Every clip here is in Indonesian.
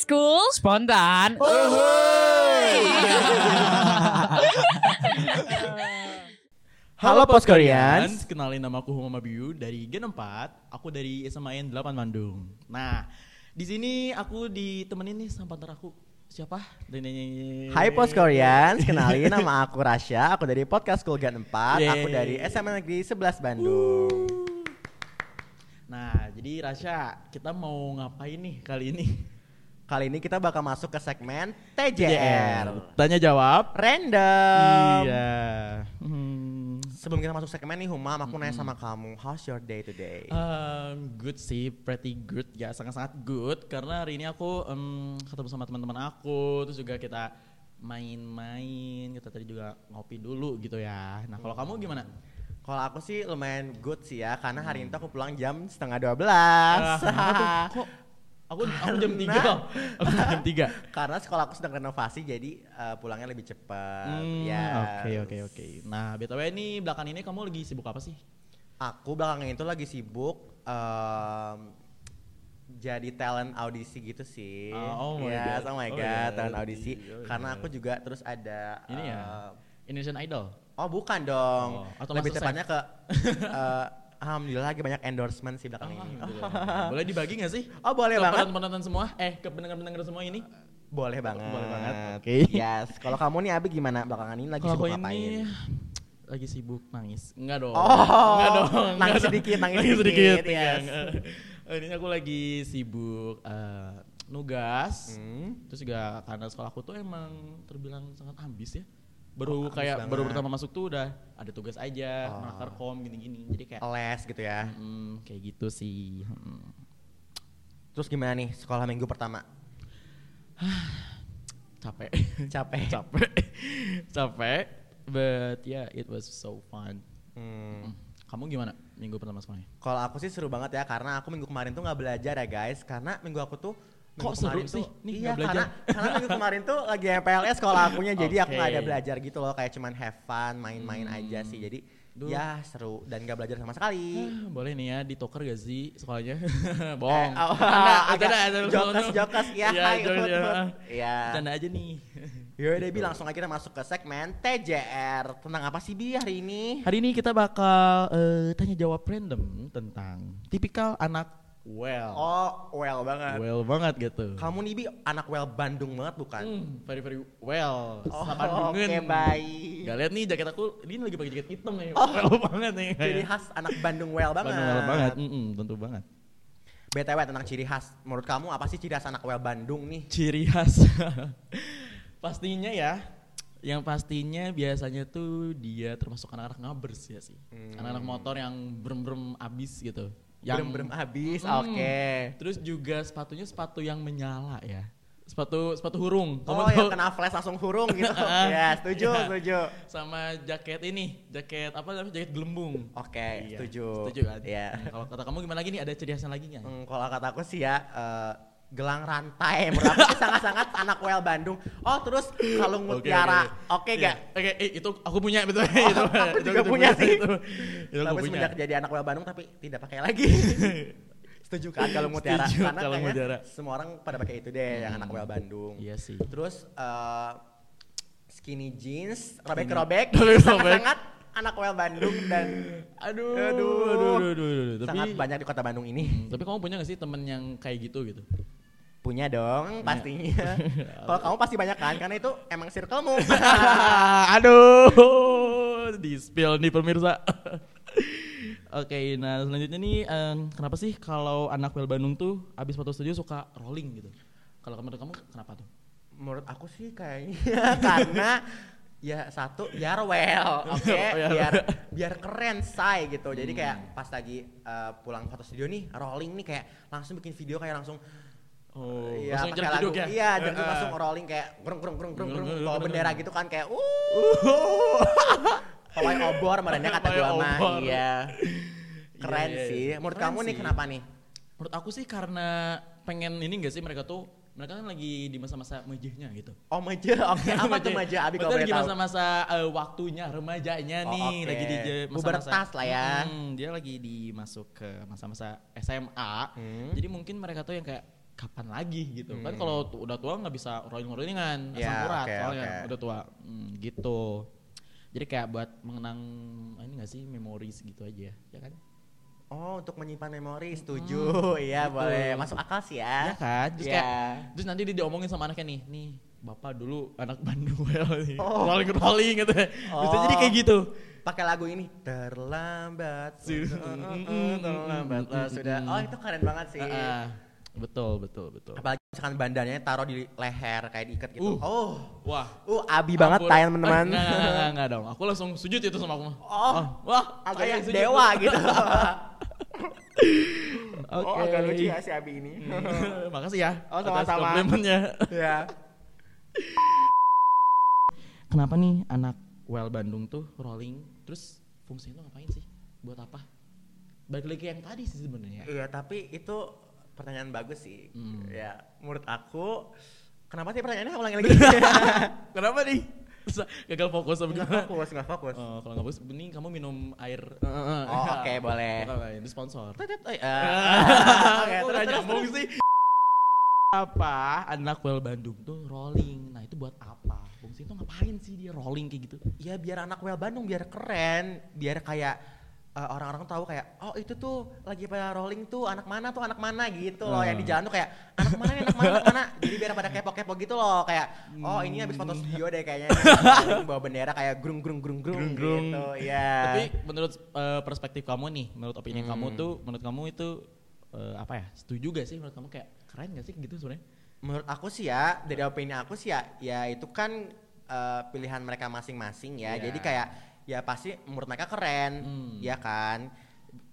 school. Spontan. Halo Post Koreans. kenalin nama aku Humama Biu dari Gen 4, aku dari SMAN 8 Bandung. Nah, di sini aku ditemenin nih sama partner aku. Siapa? Hai Post Koreans, kenalin nama aku Rasya, aku dari podcast School Gun 4, aku Yeay. dari SMA Negeri 11 Bandung. Nah, jadi Rasya, kita mau ngapain nih kali ini? Kali ini kita bakal masuk ke segmen TJR. Tanya jawab. Random. iya. Hmm. Sebelum kita masuk segmen nih Humam, aku nanya sama kamu, how's your day today? Um, good sih, pretty good ya, sangat-sangat good karena hari ini aku em, ketemu sama teman-teman aku, terus juga kita main-main, kita tadi juga ngopi dulu gitu ya. Nah kalau kamu gimana? Kalau aku sih lumayan good sih ya, karena hari ini tuh aku pulang jam setengah 12. Ah, Mm. kenapa tuh? Kok? Aku, aku jam Karena- 3 loh, aku jam 3 karena sekolah aku sedang renovasi, jadi eh, pulangnya lebih cepat. ya. Hmm, Yes. Oke oke oke. Nah btw ini belakang ini kamu lagi sibuk apa sih? Aku belakangan itu lagi sibuk em, jadi talent audisi gitu sih. Oh, oh my Yes, God. oh my Oh my God, God. talent audisi. Oh my Karena God. aku juga terus ada. Ini ya? eh, Indonesian Idol. Oh bukan dong. Oh, atau Lebih Masterchef? tepatnya ke. eh, Alhamdulillah lagi banyak endorsement sih belakang ini. Alhamdulillah. Boleh dibagi gak sih? Oh boleh Ke banget. penonton-penonton semua, eh ke pendengar-pendengar semua ini. Boleh banget. Boleh banget, oke. Yes. Kalau kamu nih Abi gimana belakangan ini lagi Kalau sibuk aku ngapain? ini lagi sibuk nangis. Enggak dong. Oh, enggak dong. enggak nangis dong. sedikit, nangis sedikit, yes. enggak, enggak. Eh, Ini aku lagi sibuk eh, nugas. Hmm. Terus juga karena sekolah aku tuh emang terbilang sangat ambis ya. Oh, Baru ambis kayak baru banget. pertama masuk tuh udah ada tugas aja, Oh. oh. kom gini-gini. Jadi kayak Les gitu ya. mm, kayak gitu sih. Mm. Terus gimana nih sekolah minggu pertama? capek Capek. capek capek but yeah it was so fun Hmm. kamu gimana minggu pertama semuanya Kalau aku sih seru banget ya karena aku minggu kemarin tuh nggak belajar ya guys karena minggu aku tuh minggu Kok seru kemarin sih? tuh- Nih, iya nggak belajar. karena karena minggu kemarin tuh lagi MPLS sekolah akunya jadi aku nggak ada Oke. Hmm. belajar gitu loh kayak cuman have fun main-main aja sih jadi Duh. ya seru dan nggak belajar sama sekali. boleh nih ya ditoker gak sih sekolahnya Eh, bohong oh, Bercanda, agak bercanda, bercanda. jokas jokas ya. Iya, hai, jokas, hut, ya. hut. Ya. bercanda aja nih Yaudah Bi langsung aja kita masuk ke segmen TJR tentang apa sih Bi hari ini? hari ini kita bakal eh, tanya jawab random tentang tipikal anak well Oh well banget. well banget gitu Kamu nih Bi anak well Bandung banget bukan? Hmm, very very well. Oh, Selapan dungen. oke, baik. Gak lihat nih jaket aku, ini lagi pakai jaket hitam nih. Well banget nih. Oh. Ciri khas anak Bandung well banget. Bandung well banget. Hmm. Mm-mm, tentu banget. BTW tentang ciri khas, menurut kamu apa sih ciri khas anak well Bandung nih? Ciri khas. pastinya ya, yang pastinya biasanya tuh dia termasuk anak-anak ngabers ya sih. Hmm. Anak-anak motor yang brem-brem abis gitu. Yang Berem-berem habis, Hmm. oke. Terus juga sepatunya sepatu yang menyala ya. Sepatu sepatu hurung. Kamu Oh, tahu? yang kena flash langsung hurung gitu. ya, setuju, Iya. setuju. sama jaket ini, jaket apa namanya? Jaket gelembung. Oke, Iya, setuju. Setuju kan? Iya. Nah, Kalau kata kamu gimana lagi nih? Ada ciri khasnya lagi nggak? Hmm, kalau kata aku sih ya, eh, gelang rantai. Menurut aku sih sangat-sangat anak well Bandung. Oh, terus kalung Oke, mutiara. Oke, Iya. gak? Oke, eh, itu aku punya betul. itu, aku itu juga punya sih. Itu, itu aku Tapi punya. semenjak jadi anak well Bandung tapi tidak pakai lagi. setuju kan kalau mutiara? Setuju, Karena kalung kayaknya mutiara. semua orang pada pakai itu deh, yang anak well Bandung. Iya sih. Terus eh, skinny jeans, robek-robek, Robek-robek. sangat-sangat anak well Bandung dan Aduh, Aduh. aduh, aduh, aduh, aduh. Tapi, sangat banyak di kota Bandung ini. Hmm, Tapi kamu punya gak sih temen yang kayak gitu gitu? Punya dong pastinya. Kalau kamu pasti banyak kan, karena itu emang circlemu. Aduh, di spill nih pemirsa. Oke, nah selanjutnya nih em, kenapa sih kalau anak Wel Bandung tuh abis foto studio suka rolling gitu? Kalau menurut kamu kenapa tuh? Menurut aku sih kayaknya karena ya satu biar well, oke, Oh, biar- Hmm. biar biar keren say gitu. Jadi kayak pas lagi eh, pulang foto studio nih, rolling nih kayak langsung bikin video kayak langsung Oh, Iya, langsung pakai jarak lagu. duduk ya? Iya, jadi Eh, langsung eh. rolling kayak grung grung grung grung grung. Grung, grung, Kalau grung, bendera grung. gitu kan kayak uh. Pawai obor merendah kata Pawai gua mah. obor. Iya. Iya, Keren iya, iya. sih. Menurut Keren kamu nih sih. kenapa nih? Menurut aku sih karena pengen ini gak sih mereka tuh mereka kan lagi di masa-masa mejehnya gitu. Oh maja, oke apa tuh Mejeh. maja? Abi kalau Maksudnya boleh lagi tahu. masa-masa eh, waktunya remajanya Oh, nih oke. lagi di je- Pubertas lah ya. Hmm, dia lagi dimasuk ke masa-masa SMA. Hmm. Jadi mungkin mereka tuh yang kayak kapan lagi gitu kan Hmm. kalau tu- udah tua nggak bisa rolling rollingan asam Ya, urat oke, soalnya oke. udah tua Hmm, gitu jadi kayak buat mengenang ah, ini nggak sih memories gitu aja ya kan Oh, untuk menyimpan memori setuju. Iya, gitu. boleh. Masuk akal sih ya. Iya kan? Terus Iya. kayak- Terus nanti dia diomongin sama anaknya nih, nih bapak dulu anak Bandung nih, Oh. rolling rolling gitu. Terus Oh. jadi kayak gitu. pakai lagu ini terlambat Sih. terlambat lah sudah oh itu keren banget sih Heeh. betul betul betul. apalagi misalkan bandannya taruh di leher kayak diikat gitu Uh. oh Wah. uh abi banget Aku- tayan teman-teman Eh, Enggak, enggak, enggak, enggak dong. Aku langsung sujud itu sama aku. mah. Oh. wah, agaknya kayak sujud. dewa gitu Oh, Oke. ya si abi ini Hmm. Makasih ya. ya. Oh, atas sama-sama. komplimennya. ya Kenapa nih anak Well Bandung tuh rolling terus fungsinya tuh ngapain sih? Buat apa? Balik lagi ke yang tadi sih sebenarnya. iya tapi itu pertanyaan bagus sih Hmm. ya menurut aku kenapa sih pertanyaannya aku ulangi lagi Kenapa nih? Terus Gagal fokus apa nggak gimana? fokus nggak fokus Oh, kalau nggak fokus, mending kamu minum air. Oh, oke, boleh. Itu sponsor. Tetet, eh, eh. Oke, Aku terus, udah terus, nyambung terus. sih. Apa anak well Bandung tuh rolling? Nah itu buat apa? Fungsi itu ngapain sih dia rolling kayak gitu? ya biar anak well Bandung biar keren biar kayak eh, orang-orang tahu kayak oh itu tuh lagi pada rolling tuh anak mana tuh anak mana gitu loh yang di Hmm. jalan tuh kayak anak mana nih, anak mana anak mana jadi biar pada kepo-kepo gitu loh kayak oh ini habis foto studio deh kayaknya Rolling bawa bendera kayak grung grung grung grung, Grung-grung. gitu ya Tapi menurut eh, perspektif kamu nih, menurut opini Hmm. kamu tuh, menurut kamu itu eh, apa ya? Setuju gak sih menurut kamu kayak keren gak sih gitu sebenarnya? menurut aku sih ya dari Iya. opini aku sih ya ya itu kan eh, pilihan mereka masing-masing ya Iya. jadi kayak ya pasti menurut mereka keren Hmm. ya Iya. kan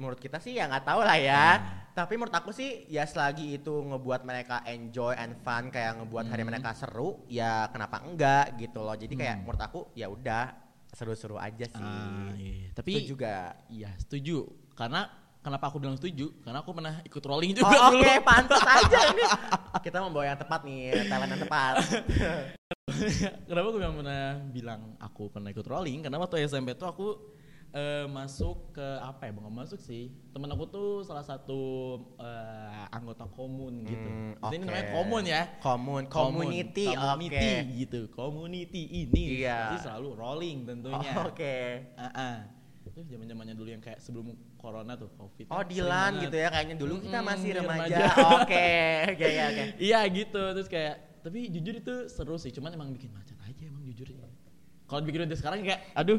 menurut kita sih ya nggak tahu lah ya tapi menurut aku sih ya selagi itu ngebuat mereka enjoy and fun kayak ngebuat hari Hmm. mereka seru ya kenapa enggak gitu loh jadi kayak menurut aku ya udah seru-seru aja sih Ah, iya. Tapi itu juga Iya setuju. Karena kenapa aku bilang setuju? Karena aku pernah ikut rolling Oh, juga oke dulu. pantas aja ini kita membawa yang tepat nih talent yang tepat kenapa aku bilang pernah bilang aku pernah ikut rolling? Karena waktu SMP tuh aku eh, masuk ke apa ya? Bukan masuk sih. Temen aku tuh salah satu eh, anggota komun gitu. Hmm, Jadi Ini oke. namanya komun ya. Komun, Komun, community, oke. community gitu. Community ini Iya. pasti selalu rolling tentunya. Oh, Oke. Ah-ah. Itu zaman-zamannya dulu yang kayak sebelum corona tuh, Covid. Oh, Dilan gitu ya kayaknya dulu kita Mm-mm, masih iya, remaja. remaja. Oke, oke, oke, Ya, oke. Iya gitu, terus kayak tapi jujur itu seru sih, cuman emang bikin macet aja emang jujur. Kalau dibikin udah sekarang kayak aduh,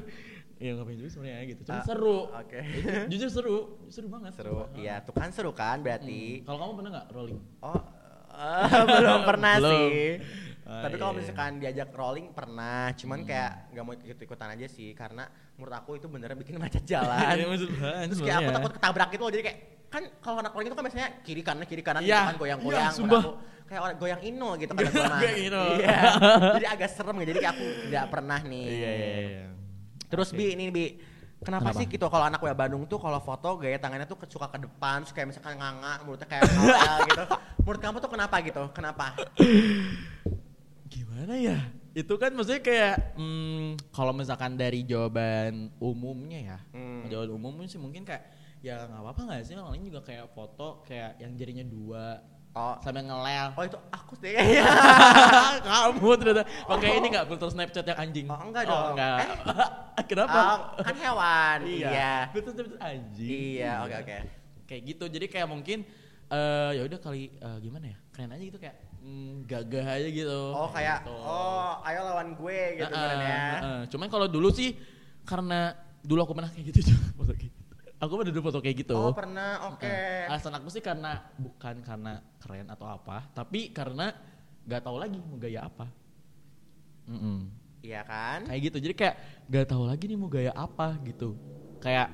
ya ngapain juga sebenarnya gitu. Cuma Ah, seru. oke. Ju- jujur seru, seru banget. Seru. Sumpah. Iya, tuh kan seru kan Hmm. berarti. Kalau kamu pernah nggak rolling? Oh, eh, belum Oh, pernah Belum. sih. Ah, Tapi kalau iya. misalkan diajak rolling pernah, cuman kayak nggak mau ikut-ikutan aja sih karena menurut aku itu beneran bikin macet Iya, jalan. maksud apaan Terus kayak aku sebenarnya? ya. takut ketabrak gitu loh, jadi kayak kan kalau anak rolling itu kan biasanya kiri kanan kiri kanan gitu Iya, kan goyang-goyang iya, menurut sumpah. aku. kayak orang goyang Ino gitu kata gua mah. Goyang Ino. Iya. Jadi agak serem gitu. Jadi kayak aku nggak pernah nih. Iya, iya, iya. Terus Oke. Bi, ini Bi, kenapa, Kenapa? sih gitu kalau anak WA Bandung tuh kalau foto gaya tangannya tuh ke- suka ke depan, suka kayak misalkan nganga, mulutnya kayak ngawel gitu. Menurut kamu tuh kenapa gitu? Kenapa? Gimana ya? Itu kan maksudnya kayak hmm, kalau misalkan dari jawaban umumnya ya, Hmm. jawaban umum sih mungkin kayak ya nggak apa-apa nggak sih orang lain juga kayak foto kayak yang jarinya dua Oh, sambil ngelel oh itu aku deh. kamu ternyata pakai ini nggak filter Snapchat yang anjing? Oh, enggak dong. enggak. Eh. Kenapa? Oh, kan hewan. Iya. Filter Snapchat anjing. Iya, oke oke. Kayak gitu. Jadi kayak mungkin eh ya udah kali eh, gimana ya? Keren aja gitu kayak mm, gagah aja gitu. Oh kayak gitu. oh ayo lawan gue gitu Heeh, kan ya. heeh. Cuman kalau dulu sih karena dulu aku pernah kayak gitu juga foto kayak gitu. Aku pernah dulu foto kayak gitu. Oh pernah, oke. Heeh. Eh, Alasan aku sih karena bukan karena keren atau apa, tapi karena nggak tahu lagi mau gaya apa. Mm-mm. Iya kan? Kayak gitu. Jadi kayak nggak tahu lagi nih mau gaya apa gitu. Kayak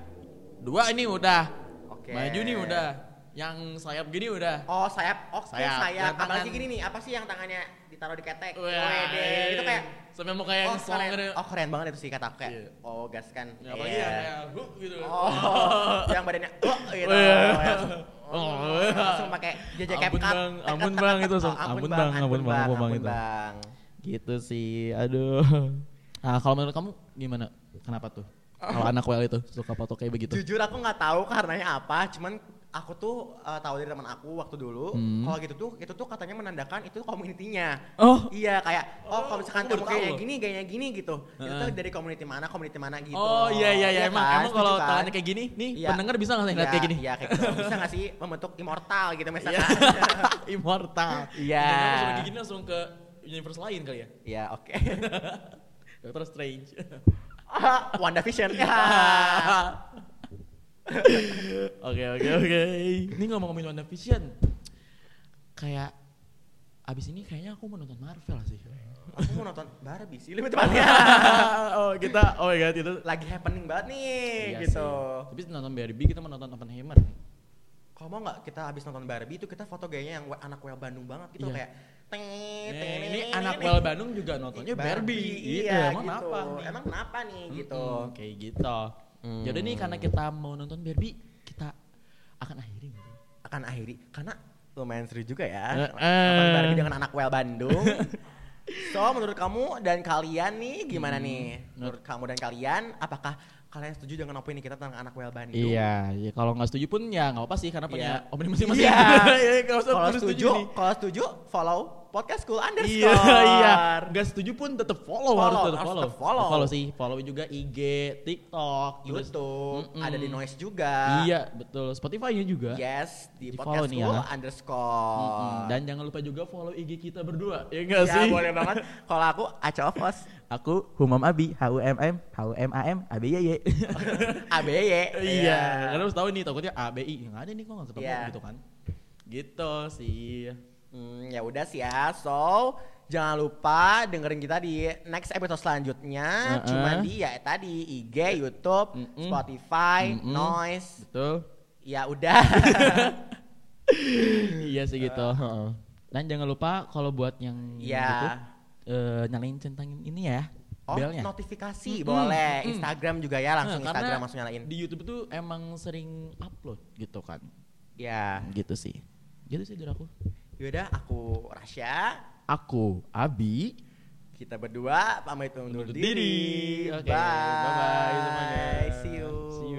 dua ini udah, Oke. maju nih udah, yang sayap gini udah. Oh sayap, oke Sayap. sayap. Yang tangan- Apalagi gini nih, apa sih yang tangannya ditaruh di ketek? Wah, Wede, itu kayak sampai mau kayak oh, song gitu. keren. oh keren banget itu sih kata aku kayak Iya. oh gas kan Ya, apalagi Iya. yang kayak hook gitu. oh yang badannya oh gitu Oh, iya. langsung, Oh, oh, iya. langsung pakai jejak cap Ampun, cut Bang. teket, Ampun, teket, Bang, itu teket. langsung. Oh, Ampun, Bang. Ampun, Bang. Ampun, Bang, itu. Bang. Gitu sih. Aduh. Nah, kalau menurut kamu gimana? Kenapa tuh? Kalau anak well itu suka foto kayak begitu? jujur aku nggak tahu karenanya apa cuman aku tuh eh, tahu dari teman aku waktu dulu Hmm. kalau gitu tuh itu tuh katanya menandakan itu community-nya. Oh. Iya kayak oh, kalau misalkan aku baru kamu tahu kayaknya loh. gini kayaknya gini gitu. Itu tuh Heeh. dari community mana, community mana gitu. Oh iya iya iya emang kan? emang kalau Setuju kan? tangannya kayak gini nih Iya. pendengar bisa nggak sih ngeliat Iya, kayak gini? Iya kayak gitu. Bisa nggak sih membentuk immortal gitu misalkan? Iya. Immortal. Iya. Pendengar langsung kayak gini langsung ke universe lain kali ya. Iya oke. Doctor Strange. Wanda Vision. Iya. Oke oke oke. Ini ngomong-ngomongin WandaVision. Kayak abis ini kayaknya aku mau nonton Marvel sih. Aku mau nonton Barbie sih lebih tepatnya. oh kita oh my god itu Lagi happening banget nih Iya gitu. sih. Tapi nonton Barbie kita mau nonton Oppenheimer. Kalau mau nggak kita habis nonton Barbie itu kita foto gayanya yang we- anak Well Bandung banget gitu Iya. kayak teng teng, Eh, ini teng, anak teng, Well teng. Bandung juga nontonnya Barbie. Gitu, Iya, emang gitu. kenapa nih? Emang kenapa nih gitu? Mm-mm, kayak gitu. Hmm. Jadi nih karena kita mau nonton Barbie, kita akan akhiri gitu. Akan akhiri karena lumayan seru juga ya. Eh, Nonton eh. Barbie dengan anak Well Bandung. so, menurut kamu dan kalian nih gimana Hmm, nih? Menurut kamu dan kalian apakah kalian setuju dengan opini kita tentang anak Well Bandung? Iya, iya, kalau nggak setuju pun ya nggak apa-apa sih karena punya Iya. opini masing-masing. Iya. Iya, nggak usah Kalau perlu setuju, nih. kalau setuju follow podcast school Iya, underscore. iya. Nggak setuju pun tetap follow, harus Follow, tetap harus follow. tetap follow. Tetep follow sih, follow juga IG, TikTok, terus- YouTube, Mm-mm. ada di noise juga. Iya, betul. Spotify-nya juga. Iya. Yes, di, Di follow podcast nih school ya. underscore. Mm-mm. Dan jangan lupa juga follow IG kita berdua, ya nggak Oh. ya, sih? boleh banget. Kalau aku acovos, Aku Humam Abi, H U M M, H U M A M, A B Y Y. ABY. Ya. Iya, karena harus tahu nih takutnya ABI nggak ada nih kok nggak ketemu Iya. gitu kan. Gitu sih. Hmm, ya udah sih ya. So, jangan lupa dengerin kita di next episode selanjutnya. Heeh. Cuman di ya tadi IG, YouTube, Mm-mm. Spotify, Mm-mm. Noise. Betul. Ya udah. iya sih gitu. heeh. Dan jangan lupa kalau buat yang Eh. Iya. gitu eh, nyalain centang ini ya. Oh, belnya. notifikasi Mm-mm, boleh. mm-mm. Instagram juga ya, langsung Nah, karena Instagram langsung nyalain. Di YouTube tuh emang sering upload gitu kan. Ya. Gitu sih. Gitu sih dari aku. Yaudah, aku Rasya. Aku Abi. Kita berdua pamit undur Undur diri. diri. Oke, bye-bye semuanya. See you. See you.